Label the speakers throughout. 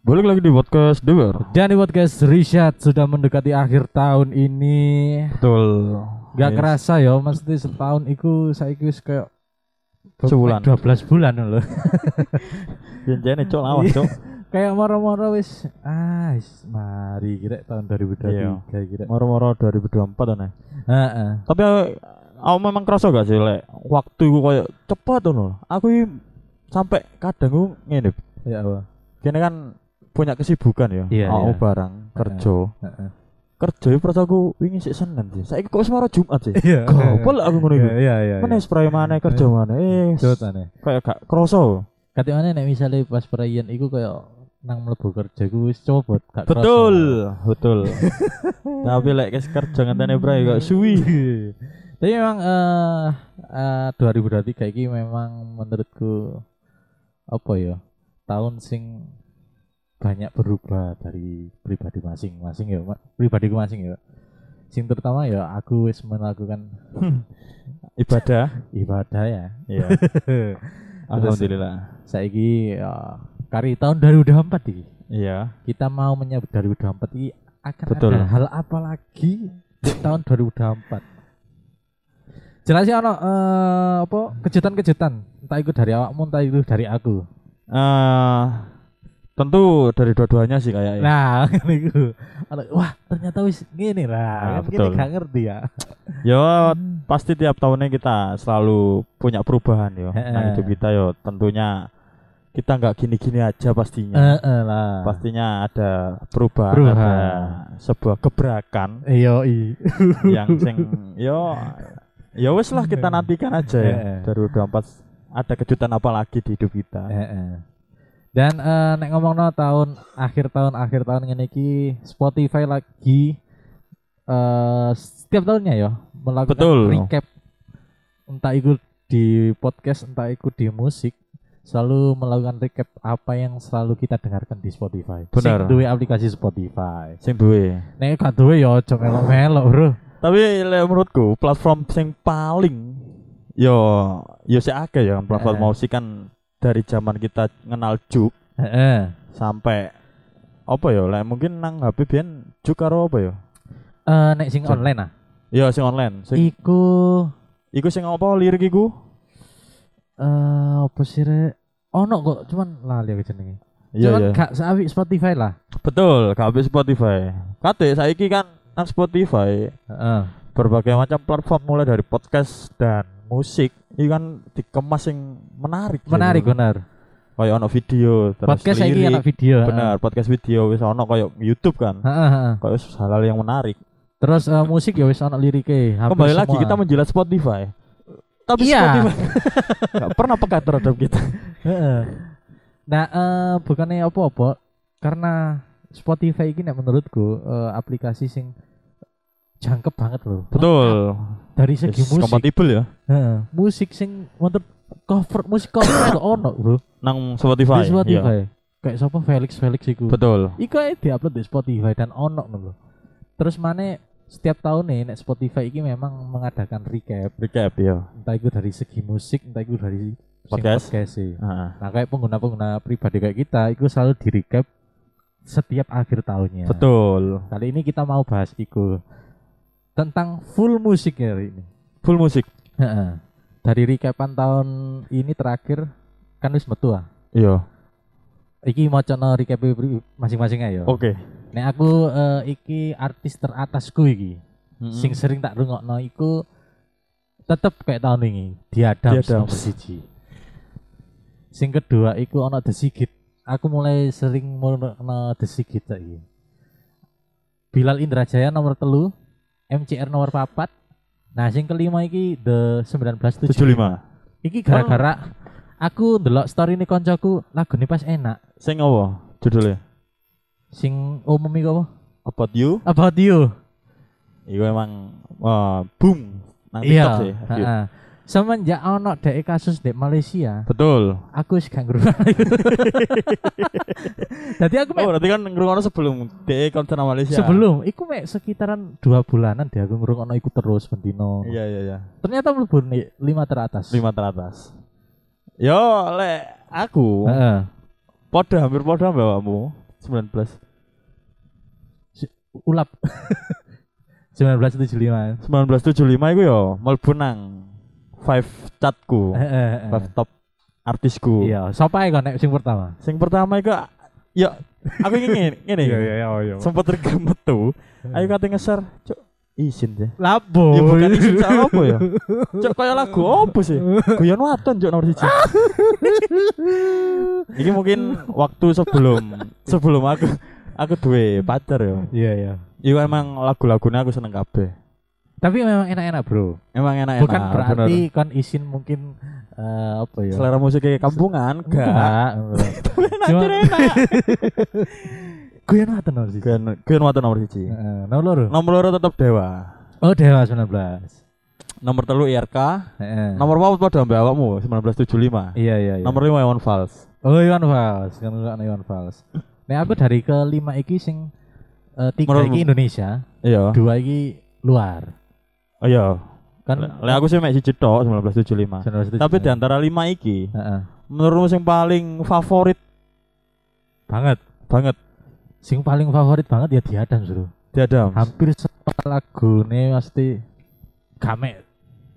Speaker 1: Balik lagi di podcast Dewer.
Speaker 2: Dan di podcast Rishad sudah mendekati akhir tahun ini.
Speaker 1: Betul. Iya.
Speaker 2: Gak kerasa ya, mesti setahun iku saiki wis kayak
Speaker 1: Sebulan.
Speaker 2: 12 bulan loh.
Speaker 1: Janjian Iya, cok lawas cok.
Speaker 2: kayak moro-moro wis ah wis mari kira tahun 2023
Speaker 1: Iya.
Speaker 2: kira.
Speaker 1: Moro-moro 2024 aneh.
Speaker 2: Heeh.
Speaker 1: Tapi eh, aku memang kerasa gak sih lek waktu iku koyo cepet ngono. Aku i- sampai kadang ku ngene.
Speaker 2: Ya apa?
Speaker 1: Kene kan punya kesibukan ya.
Speaker 2: Iya,
Speaker 1: Aku
Speaker 2: iya.
Speaker 1: barang kerja.
Speaker 2: Heeh.
Speaker 1: Kerja itu perasa aku wingi sik Senin sih. Saiki kok semaro Jumat sih.
Speaker 2: Iya.
Speaker 1: Gopol aku ngono iku.
Speaker 2: Iya iya iya.
Speaker 1: Mana spray mana kerja mana? Eh,
Speaker 2: Jotane.
Speaker 1: kayak gak kerasa.
Speaker 2: Kate mana nek misale pas perayaan iku kayak nang mlebu kerja ku wis cobot gak kerasa.
Speaker 1: Betul, betul. Tapi lek kes kerja ngenteni bray gak suwi.
Speaker 2: Tapi memang eh eh, 2023 ini memang menurutku apa ya tahun sing banyak berubah dari pribadi masing-masing ya, Mak. pribadiku masing ya. Sing terutama ya aku wis melakukan
Speaker 1: Ibadah.
Speaker 2: ibadah ya.
Speaker 1: Iya. Alhamdulillah.
Speaker 2: Saiki eh, kari tahun 2024 iki.
Speaker 1: Iya.
Speaker 2: Kita mau menyambut 2024 ini akan
Speaker 1: Betul.
Speaker 2: ada hal apa lagi di tahun 2024? Jelas sih ono eh, apa kejutan-kejutan. Entah itu dari awakmu, entah itu dari aku.
Speaker 1: Eh tentu dari dua-duanya sih ya. kayaknya.
Speaker 2: Nah, ngene iku. Ono, Wah, ternyata wis ngene
Speaker 1: Nah,
Speaker 2: lah. Kan
Speaker 1: betul.
Speaker 2: Kita gak ngerti ya.
Speaker 1: Yo pasti tiap tahunnya kita selalu punya perubahan yo.
Speaker 2: Heeh.
Speaker 1: Nah, hidup kita yo tentunya kita nggak gini-gini aja pastinya.
Speaker 2: Eh, eh lah.
Speaker 1: Pastinya ada perubahan,
Speaker 2: Perubahan.
Speaker 1: ada sebuah gebrakan
Speaker 2: Iya, i.
Speaker 1: yang sing yo ya wes lah
Speaker 2: Eh.
Speaker 1: kita nantikan aja ya.
Speaker 2: Heeh.
Speaker 1: 2024 ada kejutan apa lagi di hidup kita.
Speaker 2: Eh, eh. Dan eh, nek ngomongno tahun akhir tahun akhir tahun ngene iki Spotify lagi eh setiap tahunnya ya melakukan
Speaker 1: Betul.
Speaker 2: recap entah itu di podcast entah itu di musik selalu melakukan recap apa yang selalu kita dengarkan di Spotify.
Speaker 1: Benar.
Speaker 2: Sing duwe aplikasi Spotify.
Speaker 1: Sing duwe.
Speaker 2: Nek gak duwe ya aja melok-melok, Bro.
Speaker 1: Tapi le, menurutku platform sing paling yo yo sik akeh ya platform
Speaker 2: Heeh.
Speaker 1: musik kan dari zaman kita kenal juk
Speaker 2: Heeh.
Speaker 1: sampai apa ya lek mungkin nang HP biyen juk karo apa ya?
Speaker 2: Eh, nek sing
Speaker 1: Cek.
Speaker 2: online ah.
Speaker 1: Ya sing online. Sing,
Speaker 2: Iku
Speaker 1: iku sing apa lirik iku?
Speaker 2: eh apa sih Rek? Ono kok cuman lali aku jenenge.
Speaker 1: Iya
Speaker 2: Cuman
Speaker 1: iya.
Speaker 2: gak seawi Spotify lah.
Speaker 1: Betul, gak habis Spotify. Kate saiki kan nang Spotify
Speaker 2: Heeh.
Speaker 1: berbagai macam platform mulai dari podcast dan musik ini kan dikemas yang menarik
Speaker 2: Menarik
Speaker 1: gitu.
Speaker 2: bener.
Speaker 1: kayak ono video terus
Speaker 2: Podcast
Speaker 1: lirik,
Speaker 2: saiki ana video.
Speaker 1: benar podcast video wis ono kayak YouTube kan
Speaker 2: Heeh, heeh.
Speaker 1: kayak wis hal-hal yang menarik
Speaker 2: Terus eh, musik ya wis ana lirike. hampir
Speaker 1: kembali
Speaker 2: semua.
Speaker 1: lagi kita menjilat Spotify tapi
Speaker 2: Iya.
Speaker 1: Spotify nggak pernah peka terhadap kita
Speaker 2: Heeh. Nah, eh bukannya apa-apa karena Spotify ini nek menurutku eh, aplikasi sing jangkep banget loh.
Speaker 1: betul
Speaker 2: Dari segi
Speaker 1: Yes,
Speaker 2: musik.
Speaker 1: kompatibel ya
Speaker 2: Heeh. musik sing wonten cover musik cover lho ono, Bro.
Speaker 1: nang
Speaker 2: Di
Speaker 1: Spotify, iya.
Speaker 2: Spotify. Kayak sapa Felix Felix iku.
Speaker 1: betul
Speaker 2: Iku ae diupload di Spotify dan ono ngono lho. Terus mana setiap tahun nih nek Spotify ini memang mengadakan recap
Speaker 1: recap ya
Speaker 2: entah itu dari segi musik entah itu dari sing
Speaker 1: Podcast.
Speaker 2: sih.
Speaker 1: Heeh.
Speaker 2: Nah kayak pengguna-pengguna pribadi kayak kita itu selalu di recap setiap akhir tahunnya.
Speaker 1: betul
Speaker 2: Kali ini kita mau bahas iku tentang full musik ya hari ini.
Speaker 1: full musik
Speaker 2: Heeh. Dari recapan tahun ini terakhir kan wis metu ah.
Speaker 1: iya
Speaker 2: Iki mau cono recap masing-masing ayo.
Speaker 1: oke
Speaker 2: Nek aku eh, iki artis teratasku iki. Sing
Speaker 1: Hmm.
Speaker 2: sering tak rungokno iku tetep kayak tahun ini dia Adams
Speaker 1: Adams.
Speaker 2: nomor siji. Sing kedua iku ono The Sigit. Aku mulai sering murno The Sigit saiki. Bilal Indrajaya nomor telu, MCR nomor papat. Nah, sing kelima iki The 1975.
Speaker 1: tujuh lima Oh.
Speaker 2: Iki gara-gara aku ndelok story ini koncoku lagune pas enak.
Speaker 1: sing apa judulnya
Speaker 2: Sing umum iku apa?
Speaker 1: about you
Speaker 2: About You.
Speaker 1: Iku emang wah, boom nang
Speaker 2: Iya.
Speaker 1: TikTok sih.
Speaker 2: heeh. Semenjak ono dek kasus dek Malaysia,
Speaker 1: Betul.
Speaker 2: aku wis gak ngrungokno. Dadi aku
Speaker 1: Oh,
Speaker 2: mek
Speaker 1: berarti kan ngrungokno sebelum DE konser nang Malaysia.
Speaker 2: sebelum iku mek sekitaran dua bulanan deh aku ngrungokno iku terus bentino.
Speaker 1: Iya, iya, iya.
Speaker 2: Ternyata mlebu nih lima teratas.
Speaker 1: Lima teratas. Yo, lek aku
Speaker 2: Heeh. Eh.
Speaker 1: podo hampir podo mbakmu. 19
Speaker 2: ulap 1975
Speaker 1: 1975 iku ya mlebu nang five catku,
Speaker 2: Heeh, heeh.
Speaker 1: five top artisku.
Speaker 2: Eh. iya sapa ae kok nek sing pertama
Speaker 1: Sing pertama iku ya aku ingin ngene, ngene.
Speaker 2: iya Eh. iya
Speaker 1: Sempat tergemet tuh. Ayo kate ngeser, cuk. Isin deh.
Speaker 2: lapo
Speaker 1: Ya bukan isin cak apa ya? Cuk kaya lagu apa sih? Guyon waton cuk nomor 1. Iki mungkin waktu sebelum sebelum aku aku duwe pacar ya.
Speaker 2: iya iya
Speaker 1: Iku emang lagu-lagune aku seneng kabeh.
Speaker 2: tapi memang enak-enak bro
Speaker 1: Emang enak-enak.
Speaker 2: bukan
Speaker 1: bener.
Speaker 2: berarti kon isin mungkin eh, apa ya
Speaker 1: selera musiknya kampungan enggak.
Speaker 2: enggak
Speaker 1: Cuma
Speaker 2: Cuma- gue yang nonton sih
Speaker 1: Gen gen watu nomor 1.
Speaker 2: Heeh, nomor loro
Speaker 1: Nomor loro tetep Dewa.
Speaker 2: oh dewa 19
Speaker 1: Nomor telu IRK.
Speaker 2: Heeh.
Speaker 1: Nomor papat padha ambek awakmu 1975.
Speaker 2: iya iya iya
Speaker 1: Nomor 5 Iwan Fals.
Speaker 2: oh Iwan Fals kan lu anak Iwan Fals nek aku dari kelima iki sing eh, tiga
Speaker 1: Menurutmu?
Speaker 2: iki Indonesia
Speaker 1: Iya.
Speaker 2: dua iki luar
Speaker 1: Oh iya.
Speaker 2: kan
Speaker 1: Lek aku sih mek siji tok 1975.
Speaker 2: 1975.
Speaker 1: Tapi di antara 5 iki,
Speaker 2: Heeh.
Speaker 1: menurutmu yang paling favorit
Speaker 2: banget
Speaker 1: banget
Speaker 2: sing paling favorit banget ya diadam suruh
Speaker 1: Diadam.
Speaker 2: hampir semua lagune pasti kamek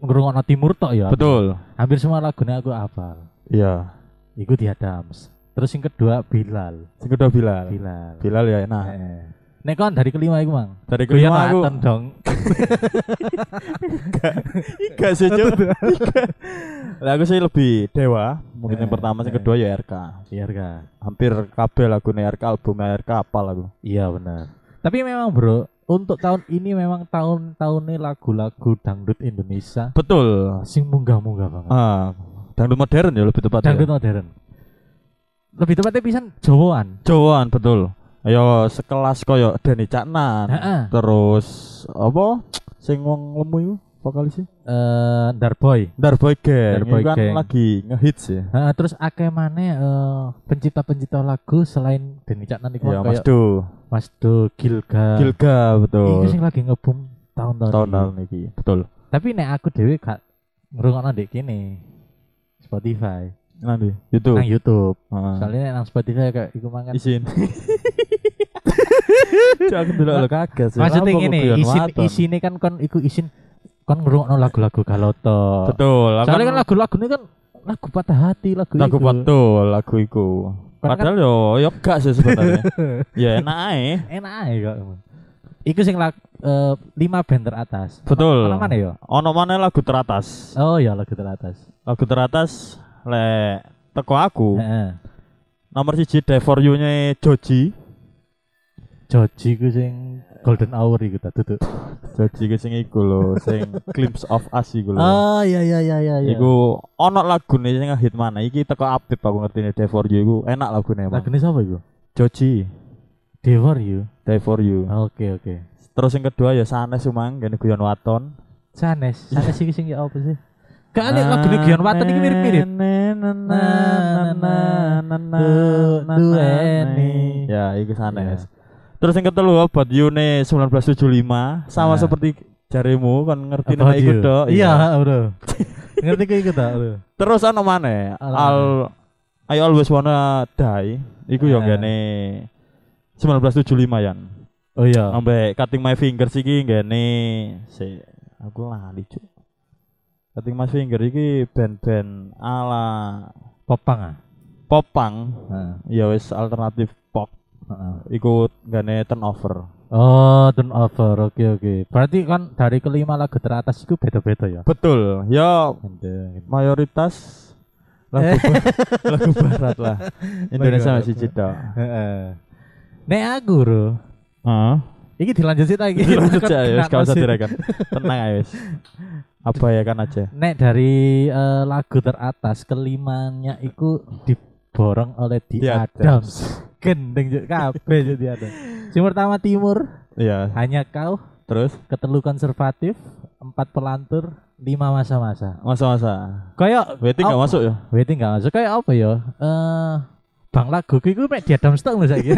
Speaker 2: ngrungokno timur tok ya
Speaker 1: Betul.
Speaker 2: hampir semua lagune aku hafal
Speaker 1: Iya.
Speaker 2: iku di Adams terus yang kedua Bilal
Speaker 1: Sing kedua Bilal.
Speaker 2: Bilal
Speaker 1: Bilal ya enak.
Speaker 2: Heeh. Eh. nek kon dari kelima iku mang
Speaker 1: Dari kelima aku
Speaker 2: Kelihatan dong
Speaker 1: Gak sih Cuk. Lah aku sih lebih Dewa, mungkin yang
Speaker 2: Eh,
Speaker 1: pertama, yang
Speaker 2: eh.
Speaker 1: kedua ya RK.
Speaker 2: iya kan
Speaker 1: hampir kabeh lagu RK album RK apal aku.
Speaker 2: iya benar tapi memang bro untuk tahun ini memang tahun-tahunnya lagu-lagu dangdut Indonesia
Speaker 1: Betul.
Speaker 2: sing munggah-munggah banget
Speaker 1: Ah, dangdut modern ya lebih tepatnya.
Speaker 2: dangdut modern lebih tepatnya pisan Jawaan
Speaker 1: Jawaan betul. Ayo sekelas koyo Deni Caknan.
Speaker 2: Heeh.
Speaker 1: Terus apa? Sing wong lemu iku vokalis sih.
Speaker 2: eh Darboy
Speaker 1: Darboy Gang.
Speaker 2: Darboy
Speaker 1: Itu kan
Speaker 2: Gang.
Speaker 1: lagi ngehits ya.
Speaker 2: Heeh, terus akeh maneh eh, pencipta-pencipta lagu selain Denny Caknan iku
Speaker 1: Ya
Speaker 2: mang
Speaker 1: Mas
Speaker 2: kayak
Speaker 1: Do.
Speaker 2: Iya, Mas Do,
Speaker 1: Nah.
Speaker 2: Gilga.
Speaker 1: Gilga
Speaker 2: Iku
Speaker 1: betul.
Speaker 2: sing lagi ngebum tahun-tahun.
Speaker 1: Tahun
Speaker 2: ini.
Speaker 1: tahun iki. Betul.
Speaker 2: Tapi nek aku dhewe gak ngrungokno ndek kene. Spotify,
Speaker 1: Nanti itu.
Speaker 2: nang YouTube.
Speaker 1: Heeh.
Speaker 2: Soalnya nek nang Spotify kayak iku mangan.
Speaker 1: Ah. Isin. Cuk, aku dulu lo kaget sih.
Speaker 2: Maksudnya
Speaker 1: Kenapa
Speaker 2: ngene,
Speaker 1: kok guyon
Speaker 2: isin
Speaker 1: waton?
Speaker 2: isine kan kon iku isin kon ngrungokno lagu-lagu galau to.
Speaker 1: Betul. aku
Speaker 2: Soalnya kan lagu-lagune kan lagu patah hati, lagu
Speaker 1: lagu
Speaker 2: iku.
Speaker 1: betul lagu iku
Speaker 2: Karena kan-
Speaker 1: padahal yo yo gak sih sebenarnya ya enak ae
Speaker 2: Enak ae kok. Iku sing lag, eh, lima band teratas.
Speaker 1: betul
Speaker 2: Ono mana ya?
Speaker 1: ono mana lagu teratas
Speaker 2: Oh ya lagu teratas.
Speaker 1: lagu teratas le teko aku
Speaker 2: Heeh.
Speaker 1: nomor siji Die for You nya Joji
Speaker 2: Joji ku sing Golden Hour iku ta duduk.
Speaker 1: Joji ke sing iku lho sing Glimpse of Us iku lho
Speaker 2: Ah iya iya iya iya. Iku
Speaker 1: iku ono lagu nih sing ngehit mana iki teko update aku ngerti nih Die for You iku enak lagu nih emang
Speaker 2: lagune sapa iku?
Speaker 1: Joji
Speaker 2: Dewa you.
Speaker 1: Die for You
Speaker 2: Ah, Oke oke.
Speaker 1: terus yang kedua ya Sanes Sumang gini Guyon Waton
Speaker 2: Sanes, Sanes iki sing ya apa sih? Gak ada lagune Gion Waton iki mirip-mirip. Dueni.
Speaker 1: Ya, iku sanes.
Speaker 2: Iya.
Speaker 1: Terus yang ketelu About You ne 1975 sama
Speaker 2: Nah.
Speaker 1: seperti jarimu kon ngerti
Speaker 2: Apa
Speaker 1: nek iku
Speaker 2: dia?
Speaker 1: tok.
Speaker 2: Ah, Iya, bro. Ngerti kok iku ta, bro?
Speaker 1: Terus ana maneh
Speaker 2: Ala.
Speaker 1: Al I always wanna die iku yo
Speaker 2: Nah.
Speaker 1: gene 1975 yan.
Speaker 2: Oh iya.
Speaker 1: Sampai cutting my fingers iki gene si aku lali cuk. Cutting my finger iki band-band ala
Speaker 2: Popang ah.
Speaker 1: popang
Speaker 2: Heeh,
Speaker 1: ya wis alternatif pop
Speaker 2: heeh.
Speaker 1: iku gane turnover
Speaker 2: Oh, turn over. Oke oke. Berarti kan dari kelima lagu teratas iku beda-beda ya.
Speaker 1: betul ya
Speaker 2: Gendeng.
Speaker 1: mayoritas
Speaker 2: Eh.
Speaker 1: lagu ba- lagu barat lah Indonesia masih cita
Speaker 2: Heeh. Nek aku, bro.
Speaker 1: Heeh.
Speaker 2: Iki dilanjut sih lagi.
Speaker 1: lanjut aja ya gak usah direken tenang aja wis apa ya kan aja
Speaker 2: Nek dari eh, lagu teratas kelimanya itu diborong oleh di,
Speaker 1: Di
Speaker 2: Adams. Gendeng juk kabeh juk di Adams. Sing pertama timur
Speaker 1: iya
Speaker 2: hanya kau,
Speaker 1: terus
Speaker 2: ketelu konservatif, empat pelantur, lima masa-masa.
Speaker 1: masa-masa
Speaker 2: Kayak
Speaker 1: waiting gak masuk ya
Speaker 2: Waiting gak masuk kayak apa ya? Eh Bang lagu ku iku mek di Adams tok lho saiki.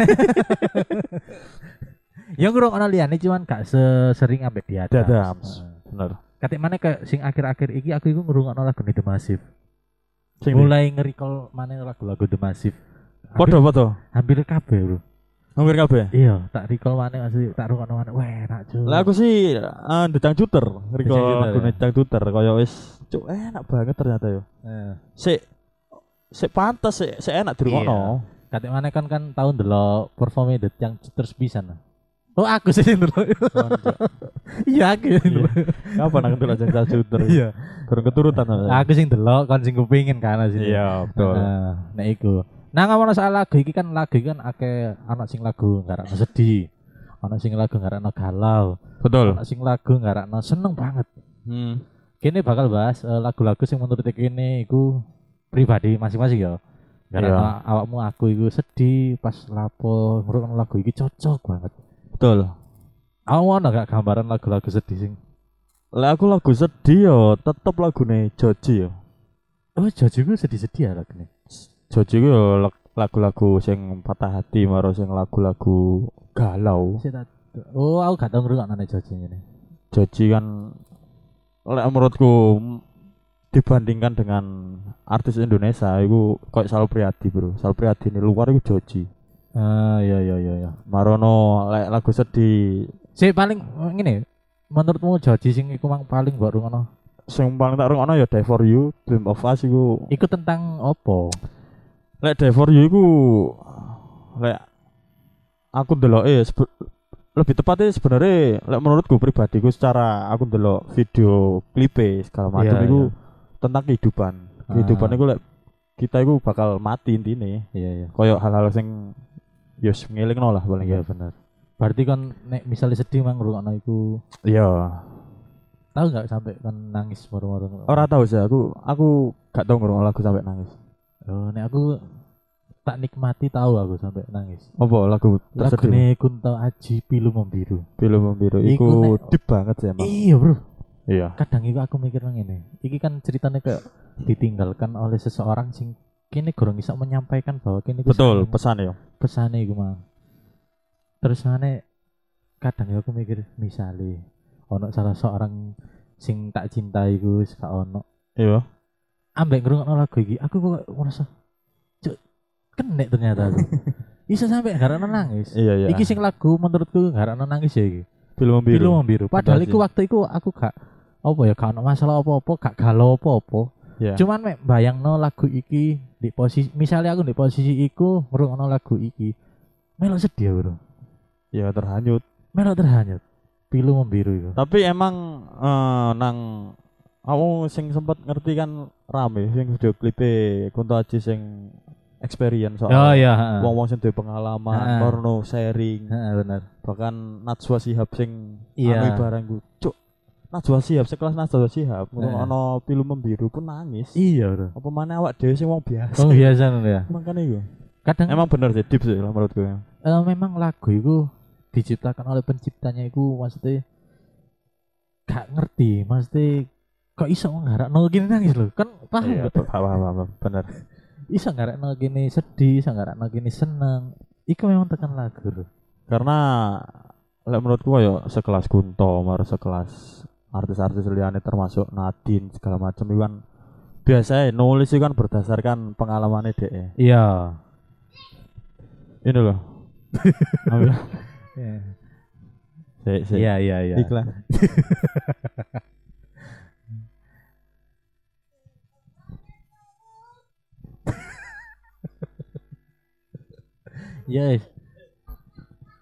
Speaker 2: Ya ngrungokno liyane cuman gak sesering ambek di Adams.
Speaker 1: Adams.
Speaker 2: Heeh.
Speaker 1: bener
Speaker 2: Katik mana kayak sing akhir-akhir iki aku iku ngrungokno lagu The Massive.
Speaker 1: sing
Speaker 2: Mulai nge-recall mana lagu-lagu The Massive.
Speaker 1: podo podo
Speaker 2: Hampir kabeh, Bro.
Speaker 1: Hampir kabeh.
Speaker 2: Iya, tak recall maneh maksudnya tak rungokno maneh. Wah, enak cuy.
Speaker 1: Lah aku sih eh ndang Twitter,
Speaker 2: Ndang
Speaker 1: riko
Speaker 2: Twitter, ya?
Speaker 1: ndang Twitter kaya wis cuk enak banget ternyata yo.
Speaker 2: Eh,
Speaker 1: Sik sik pantes sik sik enak dirungokno.
Speaker 2: katik maneh kan kan tahun delok performe The yang terus pisan. Oh, aku sih yang delok. Iya, aku yang delok.
Speaker 1: Kapan aku ndelok jang Twitter?
Speaker 2: Iya. Ah,
Speaker 1: Kurang keturutan. apa?
Speaker 2: Aku sing delok kon sing kepengin kan asine.
Speaker 1: Iya, betul.
Speaker 2: Nah, nek iku. Nah, ngomong soal lagu iki kan lagu iki kan akeh ana sing lagu ngarakno sedih. Ana sing lagu ngarakno galau,
Speaker 1: Betul.
Speaker 2: ana sing lagu ngarakno seneng banget.
Speaker 1: Hmm.
Speaker 2: Kini bakal bahas eh, lagu-lagu sing menurut kene iku pribadi masing-masing ya.
Speaker 1: Iya,
Speaker 2: Ngarakno awakmu aku iku sedih pas lapo ngrungokno lagu iki cocok banget.
Speaker 1: Betul.
Speaker 2: Awakmu ana gak gambaran lagu-lagu sedih sing
Speaker 1: Lah aku lagu sedih yo, tetep lagune Joji yo.
Speaker 2: Oh, Jojo iku sedih-sedih ya lagune.
Speaker 1: Joji ku yo lag- lagu-lagu sing patah hati maro sing lagu-lagu galau.
Speaker 2: Sik tak- Oh, aku gak tau ngrungokno nek Jojo ngene.
Speaker 1: Joji kan lek menurutku m- dibandingkan dengan artis Indonesia itu kayak Sal Priadi bro Sal Priadi ini luar itu Joji
Speaker 2: Ah, iya iya iya iya.
Speaker 1: Marono lek lagu sedih
Speaker 2: Si paling eh, ngene, menurutmu Joji sing iku mang paling mbok rungono.
Speaker 1: sing paling tak rungokno ya Die For You Dream of Us iku
Speaker 2: Iku tentang opo?
Speaker 1: lek Die For You iku lek aku ndeloke ya sebe- lebih tepatnya sebenarnya lek menurutku pribadiku secara aku ndelok video klipe segala macam
Speaker 2: Iya,
Speaker 1: itu tentang kehidupan kehidupan
Speaker 2: Ah.
Speaker 1: itu lek kita itu bakal mati intine
Speaker 2: Iya iya.
Speaker 1: koyo hal-hal sing yus ngelingno lah paling
Speaker 2: Iya
Speaker 1: ya
Speaker 2: bener. Berarti kon nek misalnya sedih mang ngrungokno iku,
Speaker 1: iya
Speaker 2: tahu nggak sampai kon nangis moro-moro? ngrungokno?
Speaker 1: ora tau sih aku aku gak tau ngrungokno lagu sampai nangis
Speaker 2: Oh, nek aku tak nikmati tahu aku sampai nangis.
Speaker 1: apa lagu tersedih
Speaker 2: Lagune Kunto Aji Pilu Membiru.
Speaker 1: film biru
Speaker 2: Iku
Speaker 1: iku
Speaker 2: nek-
Speaker 1: deep banget sih emang
Speaker 2: Iya, Bro.
Speaker 1: iya
Speaker 2: Kadang iku aku mikir nang ngene. Iki kan ceritanya kayak ditinggalkan oleh seseorang sing kini gorong bisa menyampaikan bahwa kini ku
Speaker 1: betul
Speaker 2: sayang.
Speaker 1: pesan ya
Speaker 2: pesane iku mang. Terus mana kadang ya aku mikir misale ono salah seorang sing tak cintai iku wis gak ono.
Speaker 1: iya
Speaker 2: Ambek ngrungokno lagu iki aku kok ngerasa cuk kenek ternyata aku. Iso sampe ngarana nangis.
Speaker 1: iya iya
Speaker 2: Iki sing lagu menurutku ngarana nangis ya iki.
Speaker 1: film
Speaker 2: Pilu
Speaker 1: biru
Speaker 2: membiru. Padahal
Speaker 1: Betul
Speaker 2: iku
Speaker 1: sih.
Speaker 2: waktu iku aku gak apa ya gak ono masalah apa-apa, gak galau apa-apa.
Speaker 1: iya
Speaker 2: Cuman mek bayangno lagu iki di posisi misalnya aku di posisi iku ngrungokno lagu iki. Melok sedih aku, bro.
Speaker 1: iya terhanyut
Speaker 2: Melok terhanyut. Pilu membiru itu.
Speaker 1: tapi emang eh, nang aku sing sempat ngerti kan rame sing video klipe Kunto Aji sing experience
Speaker 2: Oh
Speaker 1: soal
Speaker 2: iya,
Speaker 1: wong-wong sing duwe pengalaman,
Speaker 2: Heeh.
Speaker 1: porno sharing,
Speaker 2: Heeh, bener.
Speaker 1: bahkan Najwa Shihab sing
Speaker 2: Iya.
Speaker 1: anu barang ku cuk Najwa Shihab sekelas Najwa Shihab nah.
Speaker 2: Nah.
Speaker 1: ono pilu membiru pun nangis
Speaker 2: Iya, Bro.
Speaker 1: apa mana awak dhewe sing wong biasa
Speaker 2: Oh biasa ngono ya.
Speaker 1: makanya iku
Speaker 2: Kadang
Speaker 1: emang bener sih deep sih lah menurutku
Speaker 2: eh, memang lagu itu diciptakan oleh penciptanya itu maksudnya gak ngerti, maksudnya kok iso nggarakno gini nangis lho. Kan paham
Speaker 1: iya
Speaker 2: nggak?
Speaker 1: paham paham paham bener
Speaker 2: Iso nggarakno gini sedih, iso nggarakno gini seneng. Iku memang tekan lagu. Bro.
Speaker 1: karena lek menurutku ya sekelas Kunto mar sekelas artis-artis liane termasuk Nadine segala macam itu kan biasanya nulis itu kan berdasarkan pengalamannya deh
Speaker 2: Iya.
Speaker 1: ini loh Ambil. Sik, sik.
Speaker 2: Iya, iya, iya.
Speaker 1: iklan
Speaker 2: Iya, wis.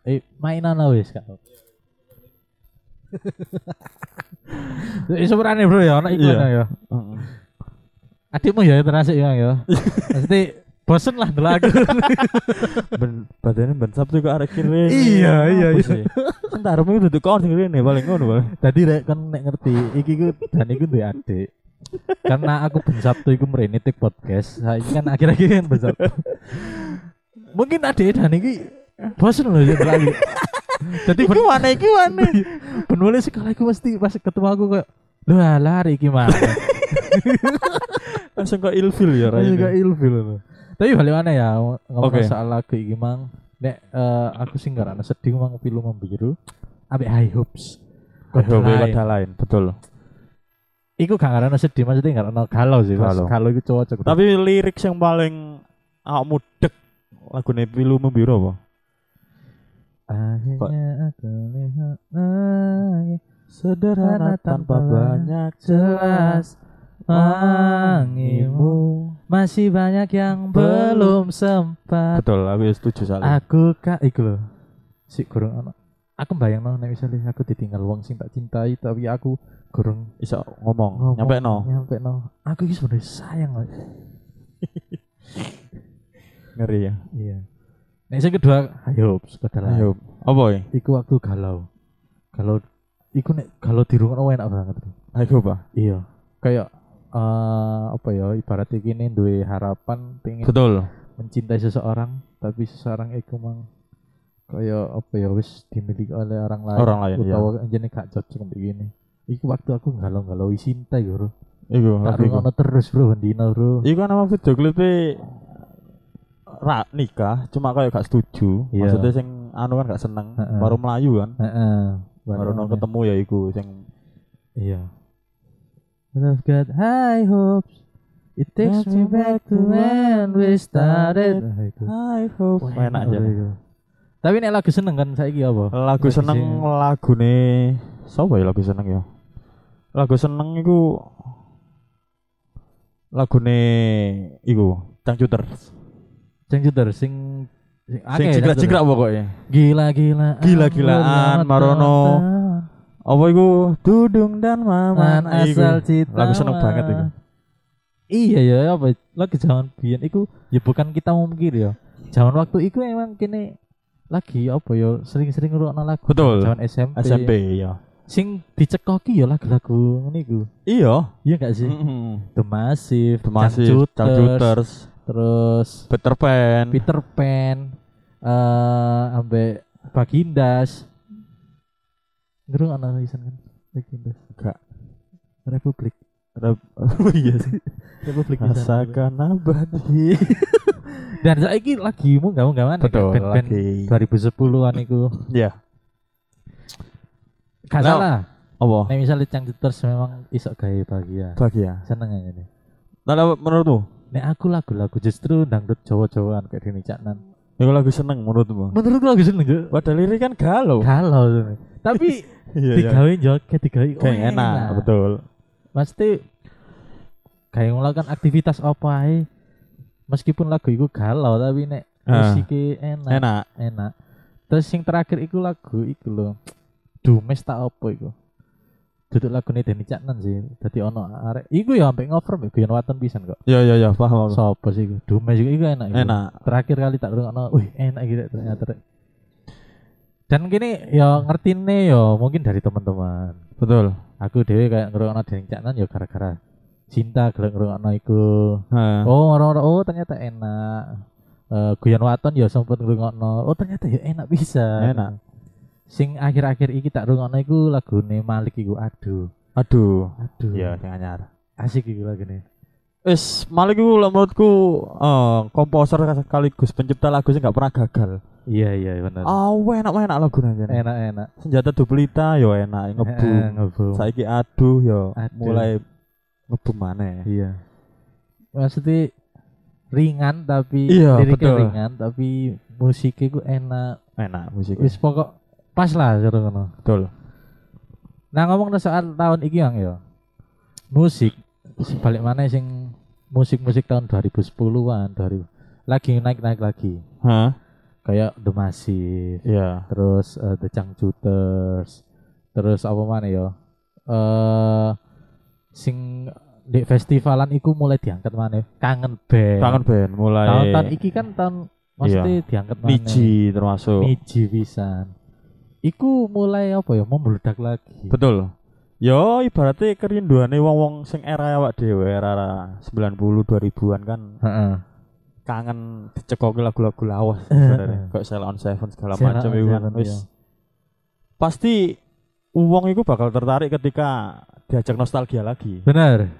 Speaker 2: Eh, mainan lah wis, Kak. Wis seberane, Bro ya, ana iklan ya.
Speaker 1: Heeh.
Speaker 2: Adikmu ya terasik ya ya. Pasti bosen lah dulu aku.
Speaker 1: ben badannya ben sabtu ke arah kiri
Speaker 2: Iya, iya, iya.
Speaker 1: entar mau duduk kau dengerin nih paling ngono paling
Speaker 2: Tadi rek kan nek ngerti iki ku dan iku duwe adik. Karena aku ben Sabtu iku mrene tik podcast. Saiki kan akhir-akhir kan ben Sabtu. Mungkin adik dan iki bosen loh ya lagi. Jadi ben
Speaker 1: mana iki mana
Speaker 2: ben mulai sekali aku mesti pas ketemu aku kayak Duh alah iki mah.
Speaker 1: langsung ke ilfil ya Ray
Speaker 2: Aku juga Iya, ilfil loh. Tapi balik mana ya ngomong
Speaker 1: Oke.
Speaker 2: soal lagu iki mang. Nek eh, aku sih nggak rasa sedih mang pilu membiru. Ambek high hopes.
Speaker 1: Aduh,
Speaker 2: Kedai.
Speaker 1: beda lain betul
Speaker 2: Iku gak ngarana sedih maksudnya gak ngarana galau sih mas.
Speaker 1: Galau.
Speaker 2: Galau iku cocok.
Speaker 1: tapi lirik yang paling awakmu dek lagu pilu membiru apa
Speaker 2: Akhirnya aku lihat lagi
Speaker 1: Sederhana tanpa banyak jelas
Speaker 2: Wangimu
Speaker 1: Mangimu
Speaker 2: Masih banyak yang belum sempat
Speaker 1: Betul, aku ya setuju soalnya
Speaker 2: Aku kak Iku loh Si gorong anak Aku bayang no, misalnya aku ditinggal wong sing tak cintai Tapi aku gorong
Speaker 1: Bisa ngomong, nyampe no
Speaker 2: Nyampe no Aku ini sebenarnya sayang loh
Speaker 1: Ngeri ya
Speaker 2: Iya Nah yang kedua Ayo sekedar lah.
Speaker 1: Ayo, apa ya?
Speaker 2: Iku waktu galau Galau Iku nek galau di rumah enak banget loh.
Speaker 1: Ayo pak
Speaker 2: Iya. Kayak eh apa ya ibaratnya gini duwe harapan pengen
Speaker 1: Betul
Speaker 2: mencintai seseorang tapi seseorang itu mang kayak apa ya wis dimiliki oleh orang lain.
Speaker 1: Orang lain, iya.
Speaker 2: utawa anjene gak cocok untuk gini. Iku waktu aku galau-galau cinta ya, Bro.
Speaker 1: Iku,
Speaker 2: Tak
Speaker 1: lagu iku
Speaker 2: rungono terus, Bro, bendina, Bro.
Speaker 1: Iku kan nama video klipnya Ra nikah, cuma kayak gak setuju
Speaker 2: Iya.
Speaker 1: Maksudnya sing anu kan gak seneng
Speaker 2: Heeh.
Speaker 1: Baru Melayu kan
Speaker 2: Heeh.
Speaker 1: Baru
Speaker 2: Bareng-
Speaker 1: no ketemu ya iku sing
Speaker 2: Iya. But I've got high hopes. It takes me back to when we started. Nah, itu.
Speaker 1: I hope
Speaker 2: Wah,
Speaker 1: Enak aja
Speaker 2: Bro, itu. Tapi nek lagu seneng kan saiki apa?
Speaker 1: Lagu
Speaker 2: Lagi
Speaker 1: seneng
Speaker 2: sing-
Speaker 1: lagu nih Sopo ya lagu seneng ya Lagu seneng iku Lagu nih Iku Cangcuters
Speaker 2: Cengcuter sing sing
Speaker 1: Sing
Speaker 2: akeh, kan
Speaker 1: cingkrak-cingkrak pokoknya
Speaker 2: Gila-gilaan.
Speaker 1: Gila-gilaan,
Speaker 2: berlama
Speaker 1: Marono.
Speaker 2: tahun.
Speaker 1: Apa iku Dudung dan Maman
Speaker 2: Man
Speaker 1: Nah, iku.
Speaker 2: asal cita.
Speaker 1: Lagu seneng banget iku
Speaker 2: Iya ya apa lagi zaman biyen iku ya bukan kita mungkin ya. Zaman waktu iku emang kene lagi apa ya sering-sering ngrungokno lagu
Speaker 1: Betul
Speaker 2: zaman SMP.
Speaker 1: SMP ya
Speaker 2: Sing dicekoki ya lagu-lagu ngene iku.
Speaker 1: Iya
Speaker 2: Iya gak sih?
Speaker 1: Mm-mm.
Speaker 2: The Massive,
Speaker 1: The Massive,
Speaker 2: Cangcuters,
Speaker 1: Cangcuters,
Speaker 2: terus
Speaker 1: Peter Pan,
Speaker 2: Peter Pan, eh ambe Bagindas. Ngerung ana lisan kan? Bagindas.
Speaker 1: Gak.
Speaker 2: Republik.
Speaker 1: Rep- Oh iya sih.
Speaker 2: Republik bisa.
Speaker 1: Rasakan abadi.
Speaker 2: Dan saiki lagi mau gak mau gak mana ya?
Speaker 1: Betul
Speaker 2: band-band
Speaker 1: lagi.
Speaker 2: 2010-an iku.
Speaker 1: Ya.
Speaker 2: Gak
Speaker 1: Nah.
Speaker 2: salah.
Speaker 1: Apa?
Speaker 2: Nek misalnya Cangcuters memang isok gawe bahagia.
Speaker 1: Bagi ya.
Speaker 2: Seneng aja nih.
Speaker 1: Nah, apa menurutmu?
Speaker 2: Nek aku lagu-lagu justru dangdut Jawa-Jawaan kayak gini caknan.
Speaker 1: Iku lagu seneng menurutmu?
Speaker 2: Menurutku lagu seneng juga.
Speaker 1: Padahal lirik kan galau.
Speaker 2: Kalau tuh. Tapi
Speaker 1: Iya, iya.
Speaker 2: digawe joget Oh, iya, digawe
Speaker 1: Kayak enak, betul.
Speaker 2: Pasti kayak melakukan aktivitas apa ae. Meskipun lagu itu galau tapi nek
Speaker 1: Ah,
Speaker 2: musiknya enak, enak.
Speaker 1: enak.
Speaker 2: Terus yang terakhir iku lagu iku lho. Dumes tak apa iku. Duduk lagu ini Denny Caknan sih. Tadi ono arek. Iku ya sampai ngover mbek Guyon Waton pisan kok.
Speaker 1: Ya ya ya, paham aku.
Speaker 2: Sopo sih iku? Dumes iku iku enak. iku.
Speaker 1: Enak.
Speaker 2: Terakhir kali tak rungokno. Wih, enak gitu ternyata. Rek. Dan gini ya ngertine ya mungkin dari teman-teman
Speaker 1: Betul.
Speaker 2: aku dewe kayak ngerungokno Dening Caknan ya gara-gara cinta gelem ngerungokno iku.
Speaker 1: Heeh.
Speaker 2: Oh, orang oh ternyata enak. Eh Guyon Waton ya sempet ngerungokno. Oh, ternyata ya enak bisa.
Speaker 1: Enak.
Speaker 2: Sing akhir-akhir iki tak rungokno iku lagune Malik iku aduh.
Speaker 1: Aduh.
Speaker 2: Aduh.
Speaker 1: Iya, sing anyar.
Speaker 2: Asik iku lagune.
Speaker 1: Wis, Malik iku lah menurutku eh, komposer sekaligus pencipta lagu sih gak pernah gagal.
Speaker 2: Iya, iya bener.
Speaker 1: Oh, Eh. enak enak lagu nanya.
Speaker 2: Enak-enak.
Speaker 1: Senjata duplita yo enak
Speaker 2: Eh,
Speaker 1: ngebum.
Speaker 2: ngebum.
Speaker 1: saiki aduh ya
Speaker 2: Aduh.
Speaker 1: mulai ngebum maneh
Speaker 2: Iya. Maksudnya ringan tapi
Speaker 1: Iya,
Speaker 2: liriknya
Speaker 1: betul.
Speaker 2: ringan tapi musiknya ku enak.
Speaker 1: enak musik
Speaker 2: Wis pokok pas lah cara ngono.
Speaker 1: betul
Speaker 2: Nah ngomong soal tahun iki yang ya. Musik sebalik mana sing musik-musik tahun 2010-an, 2000 lagi naik-naik lagi.
Speaker 1: hah
Speaker 2: Kayak The Massive,
Speaker 1: iya
Speaker 2: terus eh, The Cangcuters, terus apa mana ya? Eh sing di festivalan iku mulai diangkat mana? Kangen band.
Speaker 1: kangen band mulai
Speaker 2: Tahun-tahun iki kan tahun maksudnya diangkat mana?
Speaker 1: niji termasuk
Speaker 2: Niji pisan. Iku mulai apa ya? Membludak lagi.
Speaker 1: betul yo ibaratnya kerinduane wong-wong sing era awak dhewe era, era 90 2000-an kan
Speaker 2: Heeh.
Speaker 1: kangen dicekoki lagu-lagu lawas sebenarnya kayak Sail on Seven segala
Speaker 2: Sheila
Speaker 1: macam
Speaker 2: on
Speaker 1: itu kan
Speaker 2: Seven,
Speaker 1: wis
Speaker 2: iya.
Speaker 1: pasti uang itu bakal tertarik ketika diajak nostalgia lagi
Speaker 2: Bener.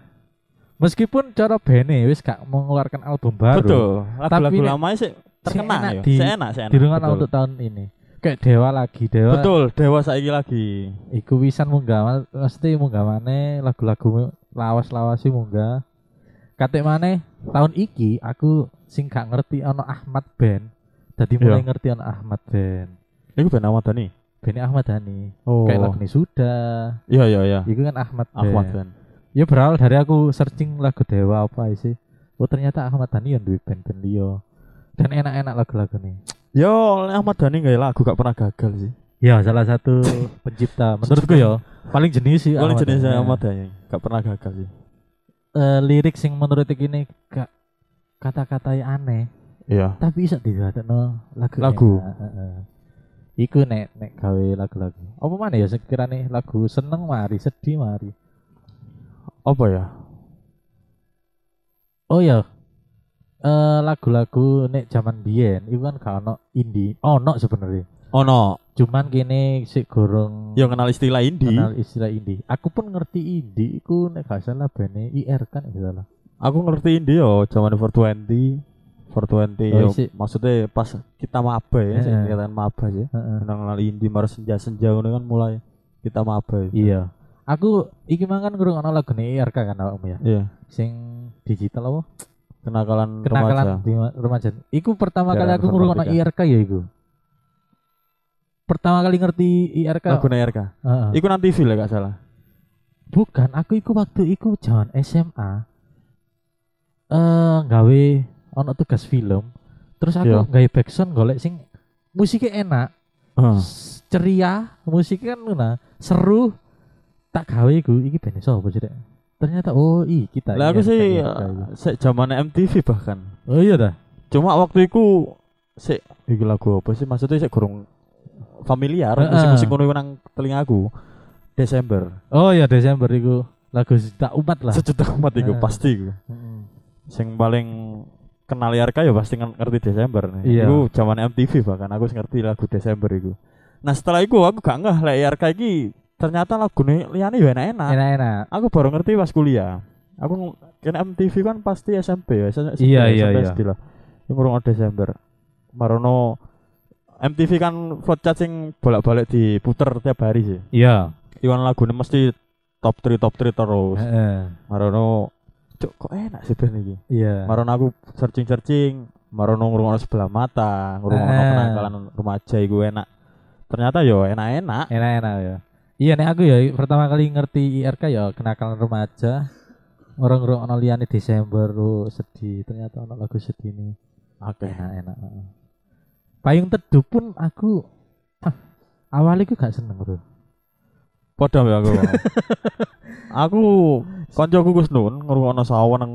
Speaker 2: Meskipun cara Bene wis gak mengeluarkan album baru.
Speaker 1: betul lagu-lagu
Speaker 2: Tapi nek-
Speaker 1: lama sih terkenal
Speaker 2: enak
Speaker 1: ya
Speaker 2: di-
Speaker 1: Sik enak sik enak
Speaker 2: Dirungan
Speaker 1: betul.
Speaker 2: untuk tahun ini. Kayak Dewa lagi, Dewa.
Speaker 1: Betul, dewa saiki lagi.
Speaker 2: Iku wisan munggah, mesti munggah maneh lagu-lagu lawas-lawas sih munggah. Katik maneh tahun iki aku sing gak ngerti ono Ahmad Ben. Dadi mulai
Speaker 1: Iya.
Speaker 2: ngerti ono Ahmad Ben.
Speaker 1: Iku ben Ahmad Dhani.
Speaker 2: Beni Ahmad Dhani
Speaker 1: Oh.
Speaker 2: kayak lagu ini sudah
Speaker 1: Iya iya iya.
Speaker 2: itu kan Ahmad
Speaker 1: Ahmad ben.
Speaker 2: Band. ya berawal dari aku searching lagu Dewa apa sih oh ternyata Ahmad Dhani yang duit band-band liya. dan enak-enak lagu-lagu nih
Speaker 1: Yo, oleh Ahmad Dhani nggak ya lagu gak pernah gagal sih.
Speaker 2: ya salah satu pencipta menurutku ya paling jenis sih
Speaker 1: Paling jenis
Speaker 2: Dhani. Ya.
Speaker 1: Ahmad Dhani gak pernah gagal sih.
Speaker 2: Eh, lirik sing menurut iki ini gak kata-kata yang aneh
Speaker 1: Iya.
Speaker 2: tapi bisa didadakno lagu
Speaker 1: Lagu.
Speaker 2: enak, heeh. iku nek nek gawe lagu-lagu apa mana ya sekiranya lagu seneng mari sedih mari
Speaker 1: Apa ya?
Speaker 2: oh ya eh lagu-lagu nek zaman biyen iku kan gak ono indie ono sebenarnya
Speaker 1: Oh no,
Speaker 2: cuman kini sik gorong
Speaker 1: yo kenal istilah indie.
Speaker 2: kenal istilah indie aku pun ngerti indie iku nek gak salah bene IR kan gak salah
Speaker 1: Aku ngerti indie yo, zaman 420 420
Speaker 2: Oh,
Speaker 1: yo,
Speaker 2: isi.
Speaker 1: maksudnya pas kita maba ya, sing
Speaker 2: Eh, eh.
Speaker 1: dikatakan maba ya.
Speaker 2: Heeh.
Speaker 1: Kenal kenal indie marah senja-senja ngono kan mulai kita maba. ya.
Speaker 2: iya aku iki kan mangan gorong ono lagu nih IR kan awakmu ya
Speaker 1: Iya.
Speaker 2: sing digital apa
Speaker 1: Kenakalan,
Speaker 2: kenakalan
Speaker 1: remaja.
Speaker 2: di ma- remaja. Iku pertama kali
Speaker 1: Jarang
Speaker 2: aku
Speaker 1: pesan
Speaker 2: ngrungokno
Speaker 1: Mardika.
Speaker 2: IRK ya iku. Pertama kali ngerti IRK.
Speaker 1: Lagu RK.
Speaker 2: Heeh.
Speaker 1: Iku nanti TV lah gak salah.
Speaker 2: bukan, aku iku waktu iku jaman SMA. Eh gawe ono tugas film. Terus aku
Speaker 1: Iya.
Speaker 2: gawe backsound golek sing musiknya enak, s- ceria, musiknya kan luna, seru. Tak gawe iku iki bene sapa sih, Dek? Ternyata oh iya kita.
Speaker 1: Lah aku
Speaker 2: IRK,
Speaker 1: sih
Speaker 2: IRK iku.
Speaker 1: sek zaman MTV bahkan.
Speaker 2: Oh iya dah.
Speaker 1: Cuma waktu itu sik iki lagu apa sih maksudnya sik gurung familiar
Speaker 2: Heeh.
Speaker 1: musik-musik ngono iku nang telingaku. Desember.
Speaker 2: Oh iya Desember iku lagu tak umat lah. Hmm.
Speaker 1: Sejuta umat iku
Speaker 2: Heeh.
Speaker 1: pasti iku.
Speaker 2: Heeh.
Speaker 1: Sing paling kenal IRK ya pasti ngen- ngerti Desember nih.
Speaker 2: Iya.
Speaker 1: Iku zaman MTV bahkan aku sing ngerti lagu Desember iku. Nah setelah itu aku gak ngeh lek IRK iki ternyata lagu nih liane ya enak-enak.
Speaker 2: Enak-enak.
Speaker 1: aku baru ngerti pas kuliah aku kena MTV kan pasti SMP ya SMP,
Speaker 2: Iya, iya,
Speaker 1: SMP
Speaker 2: iya.
Speaker 1: SD lah Ini ngurung Desember Marono MTV kan flowchart sing bolak-balik diputer tiap hari sih
Speaker 2: Iya.
Speaker 1: Iwan lagu mesti top 3 top 3 terus
Speaker 2: Heeh.
Speaker 1: Marono cuk kok enak sih band ini
Speaker 2: Iya.
Speaker 1: Marono aku searching-searching Marono ngurung sebelah mata ngurung
Speaker 2: Eh.
Speaker 1: kenakalan remaja iku enak ternyata yo enak-enak
Speaker 2: Enak-enak ya. Iya nek aku ya pertama kali ngerti IRK ya kenakalan remaja. Orang-orang ono liyane Desember lu sedih, ternyata ono lagu sedih ini.
Speaker 1: oke
Speaker 2: Enak-enak. heeh. Payung Teduh pun aku ah, awalnya aku gak seneng, Bro.
Speaker 1: Padha ya aku. aku koncoku Gus Nun ngrungokno sawon nang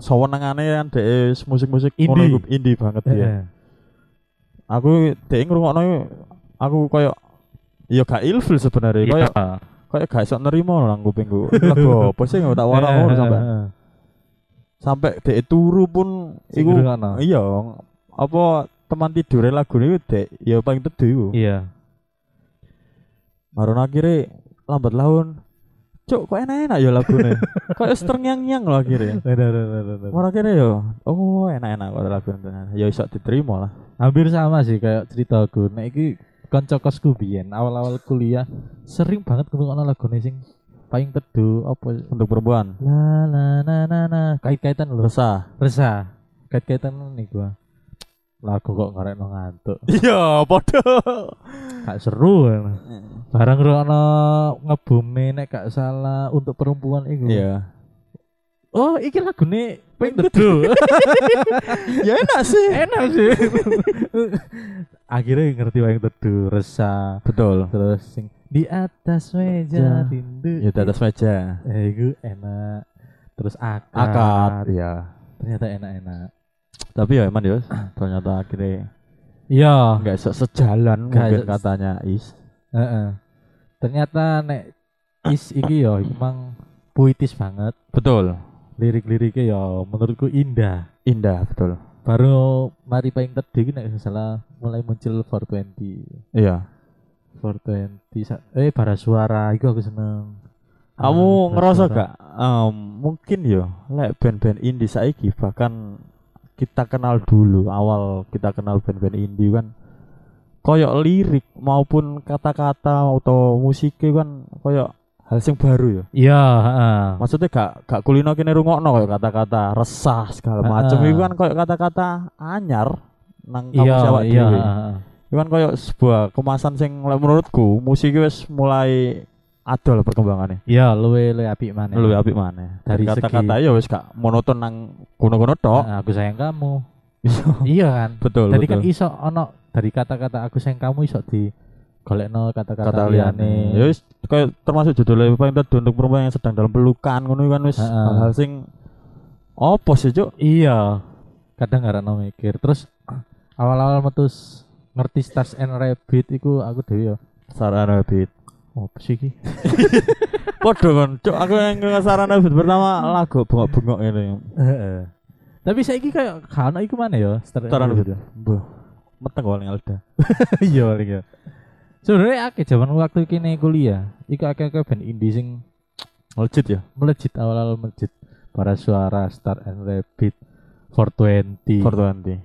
Speaker 1: sawenengane kan dhek musik-musik
Speaker 2: Indie.
Speaker 1: ngono iku indie banget ya.
Speaker 2: Heeh.
Speaker 1: Aku dhek ngrungokno aku koyo ya gak ilfil sebenarnya koyo koyo gak iso nerima nang kupingku. Ini Lagu apa sih nggak tak warna ngono sampe
Speaker 2: Heeh.
Speaker 1: sampe dhek turu pun
Speaker 2: Sing
Speaker 1: iku
Speaker 2: ngrungokno.
Speaker 1: iya apa teman tidur lagu ini dek ya paling teduh iku.
Speaker 2: Iya.
Speaker 1: Marono akhirnya lambat laun Cuk kok enak-enak ya lagunya Kok ya terngiang-ngiang loh akhirnya
Speaker 2: Bener, bener, bener.
Speaker 1: Marono akhirnya ya Oh enak-enak kok lagunya ternyata. Ya bisa diterima lah
Speaker 2: hampir sama sih kayak cerita aku nah iki kanca kosku biyen awal-awal kuliah sering banget ngrungokno lagune sing paling teduh apa
Speaker 1: Untuk perempuan
Speaker 2: la la na na na kait-kaitan lho
Speaker 1: Resah
Speaker 2: resah kait-kaitan nih gua lagu kok ngarekno ngantuk
Speaker 1: Iya podo
Speaker 2: gak seru kan.
Speaker 1: Iya.
Speaker 2: bareng ngrungokno ngebume nek gak salah untuk perempuan iku
Speaker 1: Iya
Speaker 2: oh iki lagune paling teduh
Speaker 1: Ya enak sih
Speaker 2: enak sih akhirnya ngerti wae teduh resah
Speaker 1: Betul
Speaker 2: terus sing di atas
Speaker 1: Ya.
Speaker 2: meja rindu
Speaker 1: Ya di atas meja
Speaker 2: eh itu enak terus akar,
Speaker 1: Akad Iya
Speaker 2: ternyata enak-enak
Speaker 1: Tapi ya emang ya Ternyata akhirnya
Speaker 2: iya
Speaker 1: Gak bisa sejalan
Speaker 2: Nggak
Speaker 1: mungkin
Speaker 2: iso-
Speaker 1: katanya Is
Speaker 2: heeh. ternyata nek is iki yo emang puitis banget
Speaker 1: Betul
Speaker 2: lirik-liriknya yo menurutku indah
Speaker 1: Indah betul
Speaker 2: baru mari paling tadi iki nek nggak salah mulai muncul 420
Speaker 1: Iya
Speaker 2: 420 sa- eh bara suara itu aku seneng
Speaker 1: Kamu
Speaker 2: Ah, Bara
Speaker 1: ngerasa
Speaker 2: Suara.
Speaker 1: gak em, mungkin yo lek band-band indie saiki bahkan kita kenal dulu awal kita kenal band-band indie kan koyok lirik maupun kata-kata atau musiknya kan koyok hal sing baru ya
Speaker 2: iya heeh.
Speaker 1: maksudnya gak gak kulino kene rungokno koyok kata-kata resah segala macam
Speaker 2: Ah.
Speaker 1: itu kan koyok kata-kata anyar nang kamu
Speaker 2: iya
Speaker 1: awak
Speaker 2: iya
Speaker 1: dhewe.
Speaker 2: heeh.
Speaker 1: Cuman koyo sebuah kemasan sing lek menurutku musik iki wis mulai adol perkembangannya.
Speaker 2: Ya, luwe luwe apik maneh.
Speaker 1: Lu apik maneh.
Speaker 2: Dari
Speaker 1: Nah. Dari
Speaker 2: segi-
Speaker 1: kata-kata ya wis gak monoton nang kono-kono tok.
Speaker 2: Nah, aku sayang kamu.
Speaker 1: Iso.
Speaker 2: iya kan?
Speaker 1: betul,
Speaker 2: Tadi
Speaker 1: betul.
Speaker 2: kan iso ono dari kata-kata aku sayang kamu iso di golekno kata-kata
Speaker 1: kata
Speaker 2: liyane.
Speaker 1: liane. Ya wis kayak termasuk judulnya paling tadi untuk perempuan yang sedang dalam pelukan ngono kan wis
Speaker 2: Heeh.
Speaker 1: hal-hal sing opo sih cuk?
Speaker 2: Iya. Kadang gak ono mikir. Terus awal-awal metus ngerti Stars and Rabbit iku aku dhewe ya.
Speaker 1: Sarana beat.
Speaker 2: Opo sih iki?
Speaker 1: Podo kan cuk aku yang nge- sarana beat pertama lagu bengok-bengok ini.
Speaker 2: Heeh. Tapi saiki kayak gak ono iku mana ya? Star and
Speaker 1: Sarana
Speaker 2: Rabbit.
Speaker 1: beat. Mbah. Meteng kok Alda.
Speaker 2: Iya paling ya. Sebenarnya akeh zaman waktu kini kuliah, iku akeh-akeh band indie sing
Speaker 1: Legit ya.
Speaker 2: melejit awal-awal melejit para suara Star and Rabbit 420
Speaker 1: Fortuanti.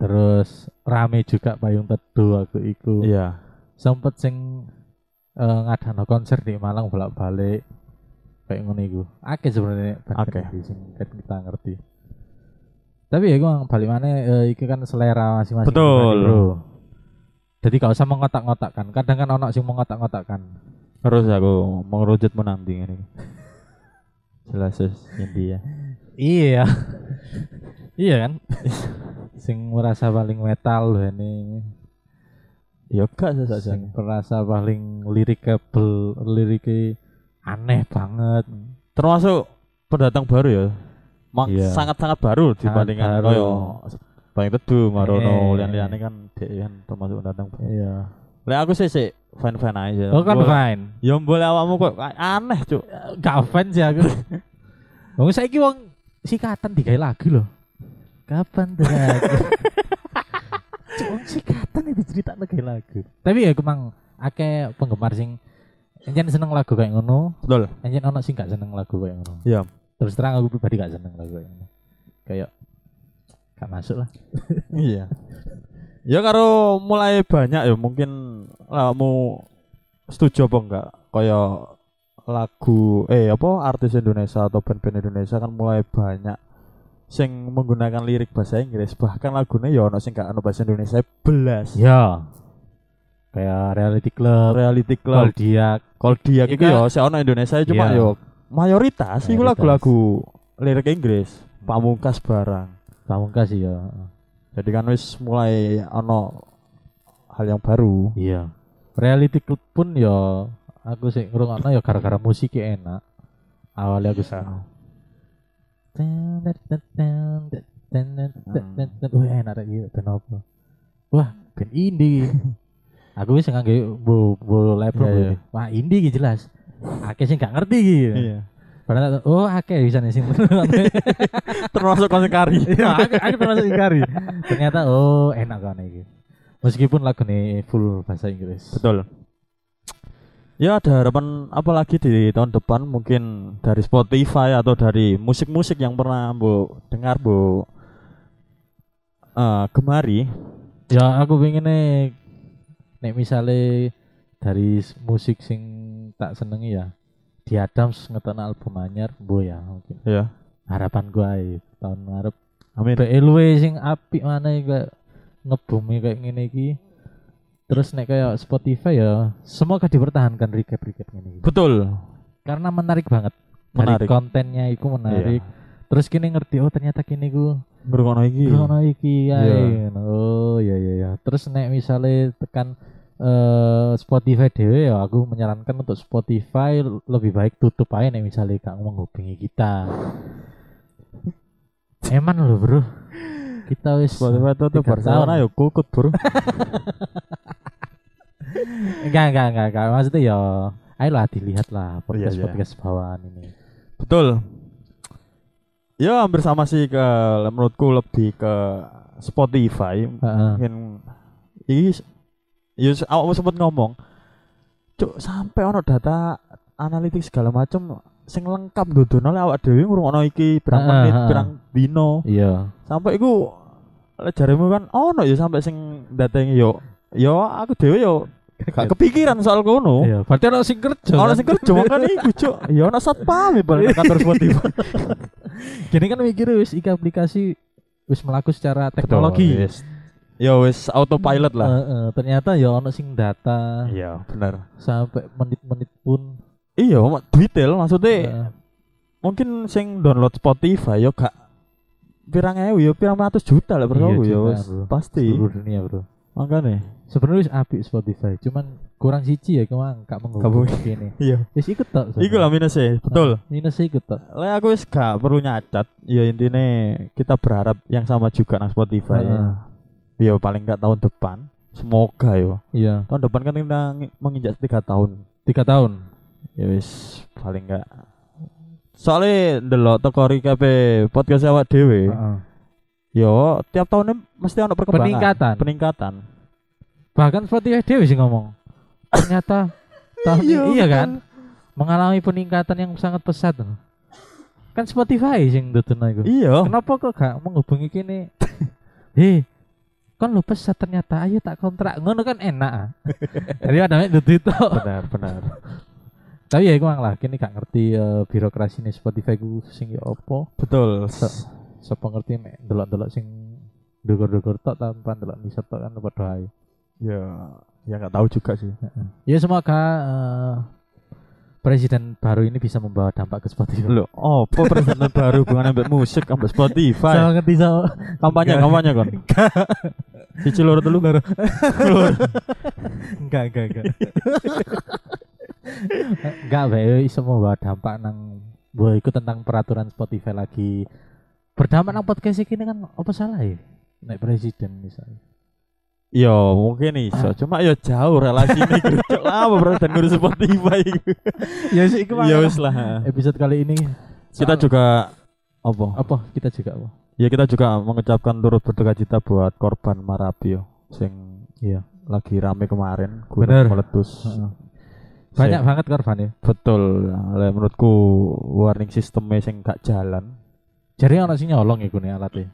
Speaker 2: terus rame juga payung teduh aku iku
Speaker 1: Iya.
Speaker 2: sempet sing eh, ngadano konser di Malang bolak-balik kayak ngono iku akeh sebenarnya band-band
Speaker 1: Akeh.
Speaker 2: indie sing kan kita ngerti tapi ya gue balik mana eh, iki kan selera masing-masing
Speaker 1: Betul.
Speaker 2: pribadi, bro jadi gak usah mengotak-ngotakkan kadang kan ono sing mengotak-ngotakkan
Speaker 1: Terus aku mengerucut menanti ini. Jelas wis ya? India.
Speaker 2: Iya. iya kan? sing merasa paling metal loh ini.
Speaker 1: Ya gak sih sakjane.
Speaker 2: Sing merasa paling lirikable, liriknya aneh banget.
Speaker 1: Termasuk pendatang baru ya. Mak-
Speaker 2: Iya.
Speaker 1: sangat-sangat baru dibandingkan
Speaker 2: baru.
Speaker 1: koyo paling teduh marono
Speaker 2: Eh.
Speaker 1: lian-liane kan dek kan termasuk pendatang baru.
Speaker 2: Iya.
Speaker 1: Lek aku sih sih fan-fan aja.
Speaker 2: Oh kan
Speaker 1: Boleh-
Speaker 2: fine.
Speaker 1: Ya boleh awakmu kok a- aneh cuk.
Speaker 2: Gak fans ya aku. Wong saiki wong sikatan digawe lagu loh. Kapan tuh lagu? Cuk, wong sikatan itu cerita lagi lagu. Tapi ya emang akeh penggemar sing Enjen seneng lagu kayak ngono,
Speaker 1: Betul.
Speaker 2: Anjir ono sih gak seneng lagu kayak ngono.
Speaker 1: Iya.
Speaker 2: Terus terang aku pribadi gak seneng lagu kayak ngono. Kayak gak masuk lah.
Speaker 1: Iya. Ya karo mulai banyak ya mungkin kamu setuju apa enggak kaya lagu eh apa artis Indonesia atau band-band Indonesia kan mulai banyak sing menggunakan lirik bahasa Inggris bahkan lagunya ya ono sing gak ono bahasa Indonesia belas
Speaker 2: Ya. Kayak reality club,
Speaker 1: reality club
Speaker 2: Koldiak.
Speaker 1: kalau dia
Speaker 2: Iya
Speaker 1: iku
Speaker 2: kan?
Speaker 1: ya sih ono Indonesia cuma
Speaker 2: Iya.
Speaker 1: yo mayoritas iku
Speaker 2: Mayoritas.
Speaker 1: lagu-lagu lirik Inggris pamungkas barang
Speaker 2: Pamungkas sih ya.
Speaker 1: jadi kan wis mulai ono hal yang baru
Speaker 2: Iya. Reality club pun ya aku sih ngrungokno ya gara-gara musik enak. Awalnya aku seneng. Wah enak rek iki ben apa? Wah, ben indie. Aku wis nganggo bo bo
Speaker 1: Iya,
Speaker 2: label.
Speaker 1: iya.
Speaker 2: Wah, indie iki jelas. Akeh sing gak ngerti iki. Padahal oh akeh bisa nih sing
Speaker 1: termasuk konser kari
Speaker 2: Iya, aku, aku termasuk ingkari. Ternyata oh enak kan iki. Meskipun lagu nih full bahasa Inggris.
Speaker 1: betul ya ada harapan apa lagi di tahun depan mungkin dari Spotify atau dari musik-musik yang pernah bu dengar bu eh gemari
Speaker 2: Ya aku pengen nih nek misale dari s- musik sing tak senengi ya di Adams ngetokno album anyar mbo ya mungkin
Speaker 1: ya
Speaker 2: harapan gua ae tahun ngarep
Speaker 1: amin
Speaker 2: bae luwe sing apik mana kayak ngebumi kayak ngene iki terus nek kayak Spotify ya semoga dipertahankan recap recap ngene iki
Speaker 1: betul
Speaker 2: karena menarik banget
Speaker 1: Menarik. Iya.
Speaker 2: dari kontennya itu menarik terus kini ngerti oh ternyata kini ku
Speaker 1: Ngrungokno iki
Speaker 2: Rono iki ya.
Speaker 1: Iya.
Speaker 2: Oh iya iya iya. Terus nek misalnya tekan eh Spotify dhewe ya aku menyarankan untuk Spotify lebih baik tutup aja nek misalnya gak menghubungi kita. Eman loh bro. Kita wis
Speaker 1: Spotify tutup
Speaker 2: Tiga
Speaker 1: Barcelona
Speaker 2: tahun.
Speaker 1: ya kukut bro
Speaker 2: enggak enggak enggak enggak maksudnya ya ayolah dilihat lah podcast
Speaker 1: iya.
Speaker 2: podcast bawahan ini.
Speaker 1: Betul. Ya hampir sama sih ke menurutku lebih ke Spotify.
Speaker 2: Heeh.
Speaker 1: Mungkin ini ya awakmu sempat ngomong. Cuk, sampai ono data analitik segala macam sing lengkap dodono oleh awak dhewe ngrungokno iki pirang
Speaker 2: Heeh,
Speaker 1: menit,
Speaker 2: heeh.
Speaker 1: pirang dino.
Speaker 2: Iya.
Speaker 1: Sampai iku lek jaremu kan ono ya sampai sing datengi yo yo aku dhewe yo gak kepikiran soal kono.
Speaker 2: Iya, berarti orang sing kerja.
Speaker 1: Ono
Speaker 2: kan?
Speaker 1: sing kerja makan iku, Cuk. Ya ono satpam ya, paling nang kantor Spotify.
Speaker 2: Gini kan mikir wis iki aplikasi wis melaku secara teknologi.
Speaker 1: Betul, yes. ya wis autopilot lah.
Speaker 2: Eh, eh, ternyata ya ono sing data
Speaker 1: Iya, bener.
Speaker 2: sampai menit-menit pun
Speaker 1: Iya, mak detail maksudnya
Speaker 2: eh,
Speaker 1: mungkin sing download Spotify yo gak pirang ewu yo pirang ratus juta lah
Speaker 2: Iya,
Speaker 1: bro yo
Speaker 2: jutaan,
Speaker 1: wis
Speaker 2: bro.
Speaker 1: pasti
Speaker 2: seluruh dunia bro.
Speaker 1: makanya
Speaker 2: Sebenarnya wis apik Spotify, cuman kurang siji ya kemang gak
Speaker 1: Gak
Speaker 2: mengganggu gini.
Speaker 1: iya
Speaker 2: Wis ikut tok.
Speaker 1: iku lah minusnya betul
Speaker 2: Minus ikut tok.
Speaker 1: lah aku wis gak perlu nyacat ya intinya kita berharap yang sama juga nang Spotify
Speaker 2: Heeh.
Speaker 1: ya paling gak tahun depan semoga yo
Speaker 2: Iya,
Speaker 1: tahun depan kan kita ngi- menginjak tiga tahun
Speaker 2: tiga tahun.
Speaker 1: ya wis paling gak soalnya ndelok teko recap podcast awak dhewe
Speaker 2: Heeh.
Speaker 1: yo tiap tahunnya mesti ono perkembangan
Speaker 2: Peningkatan.
Speaker 1: peningkatan
Speaker 2: Bahkan Spotify dewe sih ngomong. Ternyata tahun
Speaker 1: Iya,
Speaker 2: ini, iya kan mengalami peningkatan yang sangat pesat. Kan Spotify sing ndudono iku.
Speaker 1: iya
Speaker 2: Kenapa kok gak menghubungi kini? Hei, kan lu pesat ternyata ayo tak kontrak ngono kan enak ah. jadi ada itu
Speaker 1: benar benar
Speaker 2: tapi ya gue lah kini gak ngerti eh, birokrasi nih Spotify gue sing ya opo
Speaker 1: betul
Speaker 2: Se- sapa ngerti mek delok-delok sing dogor-dogor tok tanpa delok nisep tok kan padha ae
Speaker 1: ya ya nggak tahu juga sih
Speaker 2: ya semoga eh, presiden baru ini bisa membawa dampak ke Spotify
Speaker 1: lo oh apa presiden baru bukan ambek musik ambek Spotify
Speaker 2: sama ngerti sama
Speaker 1: kampanye
Speaker 2: Enggak.
Speaker 1: kampanye kon cici loro telu loro
Speaker 2: enggak enggak enggak enggak bae iso membawa dampak nang Wah, itu tentang peraturan Spotify lagi berdampak nang podcast ini kan apa salah ya naik presiden misalnya
Speaker 1: yo Ya, mungkin iso cuma yo jauh relasi ini gercep lama bro dan ngurus Spotify
Speaker 2: ya sih itu
Speaker 1: ya wis lah
Speaker 2: episode kali ini
Speaker 1: kita
Speaker 2: soal-
Speaker 1: juga apa
Speaker 2: apa kita juga apa
Speaker 1: ya kita juga mengucapkan turut berduka cita buat korban Marabio sing
Speaker 2: Iya.
Speaker 1: lagi rame kemarin
Speaker 2: Bener.
Speaker 1: gunung meletus
Speaker 2: Heeh. banyak banget korban ya
Speaker 1: Betul. Lah, menurutku warning sistemnya sing gak jalan.
Speaker 2: Jadi ana sing nyolong iku nih alatnya.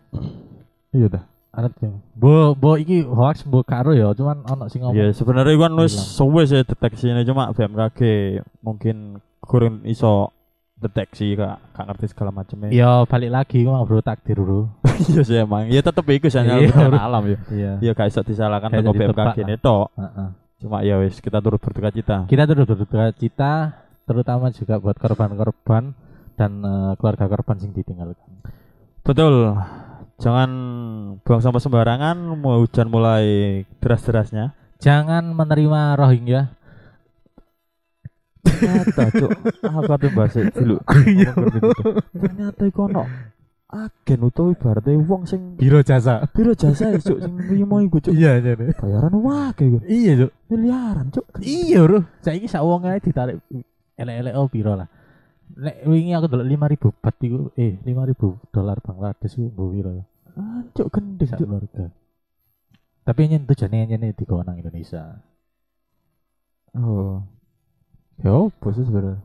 Speaker 1: Iya dah.
Speaker 2: Alatnya. Bo bo iki hoax bo karo ya, cuman ana sing ngomong.
Speaker 1: Ya sebenarnya kan wis
Speaker 2: Hilang.
Speaker 1: suwe sih deteksinya cuma BMKG mungkin kurang iso deteksi gak, gak ngerti segala macamnya.
Speaker 2: Ya balik lagi iku mang bro takdir bro.
Speaker 1: Iya sih emang. Ya tetep iku sih
Speaker 2: Iya,
Speaker 1: bencana alam ya.
Speaker 2: Iya.
Speaker 1: Ya gak iso disalahkan
Speaker 2: Gak iso
Speaker 1: teko
Speaker 2: ditebak
Speaker 1: BMKG ini tok.
Speaker 2: Heeh.
Speaker 1: Cuma ya wis kita turut berduka cita.
Speaker 2: Kita turut berduka cita terutama juga buat korban-korban dan eh, keluarga korban sing ditinggalkan.
Speaker 1: Betul. Jangan buang sampah sembarangan, mau hujan mulai deras-derasnya.
Speaker 2: Jangan menerima Rohingya.
Speaker 1: ternyata cuk aku ate bahasa dulu
Speaker 2: Iya.
Speaker 1: gitu, ternyata iku ono agen utawa ibarate wong sing
Speaker 2: Biro jasa.
Speaker 1: biro jasa ya, cuk sing nrimo iku cuk
Speaker 2: Iya, iya.
Speaker 1: bayaran wakil iku
Speaker 2: Iya, Cuk.
Speaker 1: miliaran cuk
Speaker 2: Iya, Bro. Saiki sak wong ae ditarik elek-elek oh piro lah. Nek wingi aku delok 5000 bat iku eh 5000 dolar Bangladesh iku mbok piro ya?
Speaker 1: Ah, cuk gendeng
Speaker 2: Sak
Speaker 1: cuk
Speaker 2: keluarga. Tapi nyen tujuane nyen di nang Indonesia.
Speaker 1: oh yo bos sebenarnya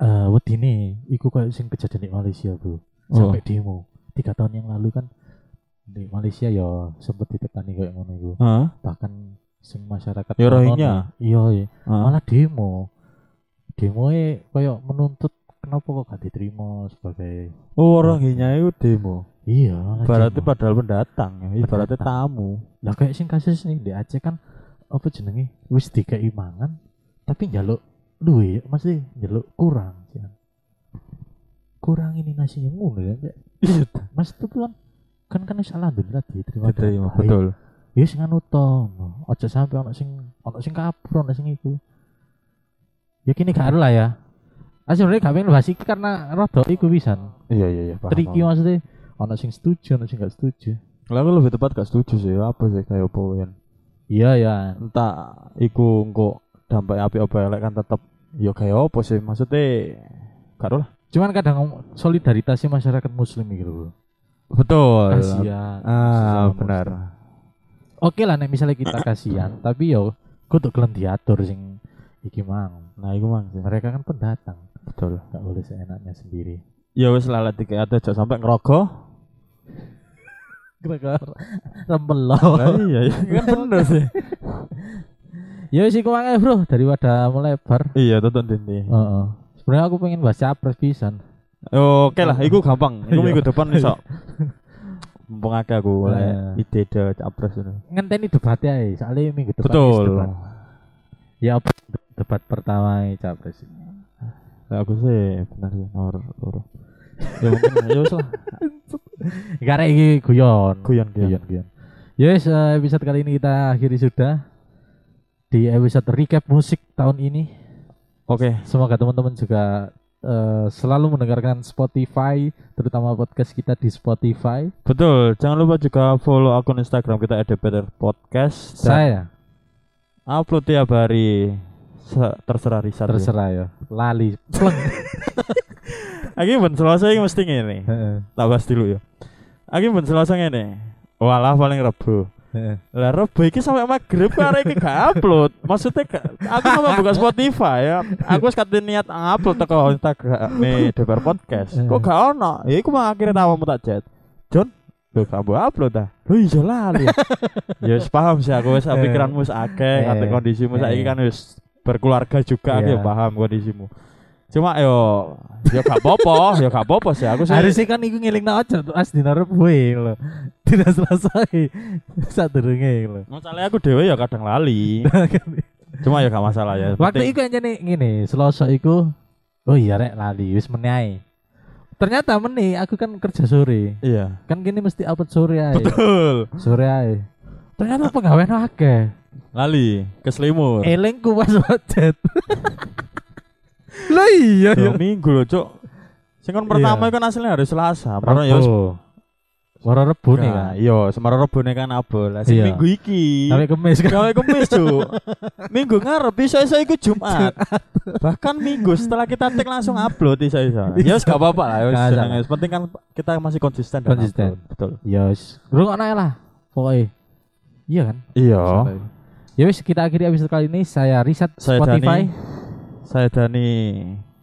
Speaker 2: Eh wedine iku kayak sing kejadian di Malaysia,
Speaker 1: Oh.
Speaker 2: Bro. Sampai demo. Tiga tahun yang lalu kan di Malaysia ya sempet ditekani kayak ngono iku.
Speaker 1: Hah?
Speaker 2: Bahkan sing masyarakat
Speaker 1: Ya,
Speaker 2: konon
Speaker 1: Rohingya.
Speaker 2: ya. Iya, iya.
Speaker 1: Hah?
Speaker 2: malah demo demo e kayak menuntut kenapa kok gak diterima sebagai
Speaker 1: Oh, orang hanya itu demo.
Speaker 2: iya malah
Speaker 1: Ibaratnya
Speaker 2: demo.
Speaker 1: padahal pendatang, ya. ibaratnya
Speaker 2: Pendatang.
Speaker 1: tamu.
Speaker 2: lah kayak sing kasus nih di Aceh kan apa jenenge wis dikei mangan tapi njaluk duit masih njaluk kurang ya. kurang ini nasinya ngono ya Cek.
Speaker 1: Iya,
Speaker 2: mas itu kan kan kan wis alhamdulillah diterima
Speaker 1: diterima.
Speaker 2: dengan baik.
Speaker 1: Betul.
Speaker 2: ya sing anu to aja sampe ono sing ono sing kabur ono sing iku ya kini gak ada lah ya Ah sebenarnya gak pengen bahas iki karena rodok iku pisan.
Speaker 1: Iya, iya, iya. paham,
Speaker 2: Tricky
Speaker 1: paham.
Speaker 2: maksudnya ono sing setuju, ono sing gak setuju.
Speaker 1: Lah, aku lebih tepat gak setuju sih. Apa sih kayak apa ya?
Speaker 2: Iya ya.
Speaker 1: entah iku engko dampak api apa elek kan tetep ya kayak apa sih maksudnya karo lah
Speaker 2: Cuman kadang ngom- solidaritasnya masyarakat muslim gitu bro.
Speaker 1: betul
Speaker 2: Kasihan. sesama
Speaker 1: Oh, iya. ah
Speaker 2: muslim.
Speaker 1: benar
Speaker 2: Oke lah nek misalnya kita kasihan, tapi yo kudu gelem diatur sing iki mang.
Speaker 1: nah iku mang sih
Speaker 2: Mereka kan pendatang,
Speaker 1: betul
Speaker 2: gak boleh seenaknya sendiri.
Speaker 1: ya wis lalat tiga ada jauh sampai ngerogoh
Speaker 2: Gara-gara rembelo.
Speaker 1: lah iya iya kan bener sih
Speaker 2: Ya wis iku wae, Bro, daripada melebar.
Speaker 1: iya tonton dindi
Speaker 2: Heeh. Sebenarnya aku pengen bahas capres pisan.
Speaker 1: Iya. oke lah iku gampang iku minggu depan iso mumpung akeh aku oleh
Speaker 2: Eh.
Speaker 1: ide ide capres ngono.
Speaker 2: ngenteni debatnya ya soalnya minggu depan
Speaker 1: Betul.
Speaker 2: is debat. ya apa debat pertama ya, capres ini
Speaker 1: Lah aku sih benar sih nomor loro. ya mungkin ya wis lah.
Speaker 2: gak ada ini guyon
Speaker 1: Guyon guyon.
Speaker 2: guyon guyon ya wis, eh, episode kali ini kita akhiri sudah di episode recap musik tahun ini
Speaker 1: Oke,
Speaker 2: semoga teman-teman juga eh, selalu mendengarkan Spotify terutama podcast kita di Spotify
Speaker 1: betul. Jangan lupa juga follow akun Instagram kita @dpr podcast dan
Speaker 2: saya
Speaker 1: upload tiap hari. Se- terserah Rizal.
Speaker 2: terserah ya lali pleng
Speaker 1: Aku ben Selasa iki mesti ngene.
Speaker 2: Heeh,
Speaker 1: Tak bahas dulu ya. Aku ben Selasa ngene. Walah paling Rebo.
Speaker 2: heeh.
Speaker 1: Lah Rebo iki sampai maghrib kok arek iki gak upload. Maksudnya gak- aku sampe buka Spotify ya. Aku wis kate niat upload teko Instagram nih DPR podcast.
Speaker 2: Iya.
Speaker 1: Kok gak ono? Ya iku mah akhirnya tawamu tak chat. John, lu gak mau upload ah. Lu iya lali. Ya wis paham sih aku wis
Speaker 2: Iya.
Speaker 1: pikiranmu wis akeh, kate
Speaker 2: Eh.
Speaker 1: kondisimu saiki
Speaker 2: Eh.
Speaker 1: kan wis berkeluarga juga aku ya
Speaker 2: Iya.
Speaker 1: paham kondisimu. Cuma yo yo gak popo, yo gak popo sih aku sih.
Speaker 2: harusnya kan iku ngiling na aja tuh as dina rebuhe lho tidak selesai sadurunge eh, lho
Speaker 1: Masalahnya aku dewe ya kadang lali. Cuma ya gak masalah ya. Penting-
Speaker 2: waktu iku anjane ngene selasa iku oh iya rek lali wis menai ternyata meni aku kan kerja sore
Speaker 1: iya.
Speaker 2: kan gini mesti upload sore ae
Speaker 1: Betul.
Speaker 2: sore ae ternyata pegawai akeh
Speaker 1: Lali, keselimur.
Speaker 2: eling ku pas wajat lah iya
Speaker 1: Dua minggu loh, Cuk. Sing kon pertama
Speaker 2: Iya.
Speaker 1: kan aslinya hari Selasa, Moro ya wis
Speaker 2: Rebo Moro Rebo nih kan
Speaker 1: Nah, Iya, semaro rebone kan abol. Lah sing
Speaker 2: Iya.
Speaker 1: minggu iki.
Speaker 2: Sampai kemis kan
Speaker 1: Gawe kemis, Cuk. minggu ngarep iso-iso iku Jumat. Bahkan minggu setelah kita tek langsung upload iso-iso. Ya wis gak apa-apa lah, wis
Speaker 2: Iya. Gak
Speaker 1: seneng.
Speaker 2: masalah.
Speaker 1: Wis penting kan kita masih konsisten dan
Speaker 2: Konsisten.
Speaker 1: upload. Betul.
Speaker 2: Ya wis, rungokno ae lah pokoknya. Iya kan?
Speaker 1: Iya.
Speaker 2: Ya wis kita akhiri episode kali ini saya riset
Speaker 1: Saya
Speaker 2: Spotify.
Speaker 1: Dani. Saya Dani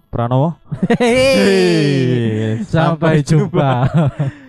Speaker 1: Pranowo.
Speaker 2: Hei.
Speaker 1: Hei,
Speaker 2: Sampai jumpa.